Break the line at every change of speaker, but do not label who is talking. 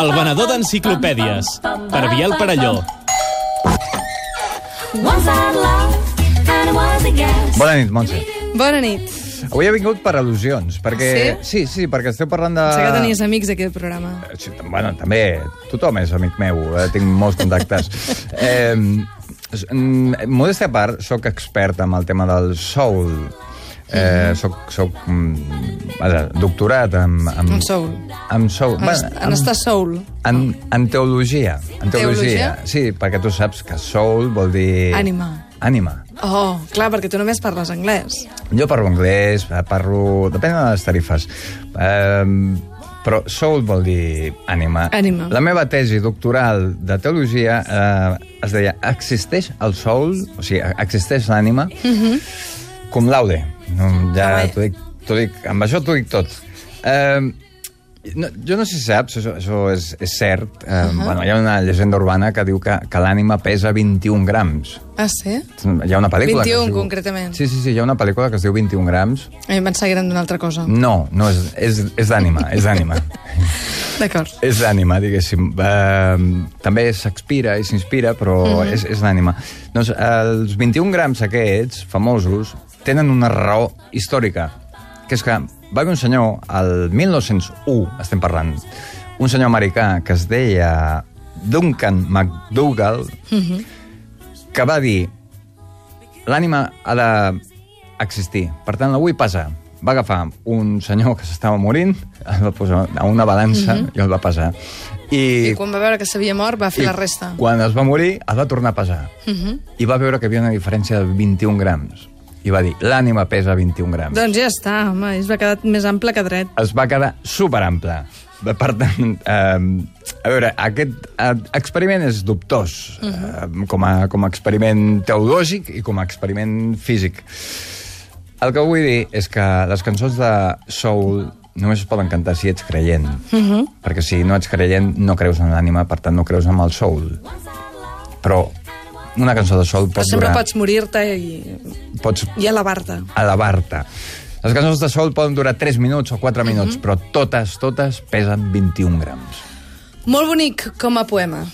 El venedor d'enciclopèdies, per Biel Parelló.
Once I loved, and it was a guess.
Bona nit, Montse.
Bona nit.
Avui he vingut per al·lusions, perquè... Sí? Sí, sí, perquè esteu parlant de...
Uh... Sé que tenies amics d'aquest programa.
Sí, bueno, també, tothom és amic meu, eh? tinc molts contactes. eh, s- mm, modestia a part, sóc expert en el tema del soul. Eh, soc, soc mm, vaja, doctorat en... En,
En soul.
En soul.
En, est- en estar soul.
En, en teologia. En teologia.
Teologia?
Sí, perquè tu saps que soul vol dir...
Ànima.
Ànima.
Oh, clar, perquè tu només parles anglès.
Jo parlo anglès, eh, parlo... Depèn de les tarifes. Um, però soul vol dir ànima.
Ànima.
La meva tesi doctoral de teologia eh, es deia Existeix el soul? O sigui, existeix l'ànima? Mm -hmm. Cum laude. No, ja
Mhm. Ah, bé.
t'ho dic, t'ho dic, amb això t'ho dic tot. Um, no, jo no sé si saps, això, això és, és cert. Um, uh -huh. bueno, hi ha una llegenda urbana que diu que, que l'ànima pesa 21 grams.
Ah, sí?
Hi ha una pel·lícula... que es
21
diu-
concretament.
Sí, sí, sí, hi ha una pel·lícula que es diu 21 grams.
A mi em pensava que eren d'una altra cosa.
No, no, és, és, és d'ànima, és d'ànima.
D'acord.
és d'ànima, diguéssim. Uh, també s'expira i s'inspira, però mm -hmm. és, és d'ànima. Doncs els 21 grams aquests, famosos, tenen una raó històrica, que és que va haver un senyor, al 1901, estem parlant, un senyor americà que es deia Duncan McDougall, mm -hmm. que va dir l'ànima ha d'existir. Per tant, la vull pesar. Va agafar un senyor que s'estava morint, el va posar a una balança i el va pesar. I,
Mhm. I quan va veure que s'havia mort, va fer
i
la resta. Mhm.
quan es va morir, el va tornar a pesar. I va veure que havia una diferència de 21 grams. I va dir, l'ànima pesa 21 grams.
Doncs ja està, home, es va quedar més ample que dret.
es va quedar superample. Per tant, eh, a veure, aquest eh, experiment és dubtós,
Mhm.
uh -huh. eh, com, a, com a experiment teològic i com a experiment físic. El que vull dir és que les cançons de soul només es poden cantar si ets creient, uh
Mhm.
-huh. perquè si no ets creient no creus en l'ànima, per tant no creus en el soul. Però una cançó de soul pot
Però sempre
durar...
pots morir-te i,
Pots
i elevar-te.
elevar-te. Les cançons de sol poden durar 3 minuts o 4 minuts, però totes, totes pesen 21 grams.
Molt bonic com a poema.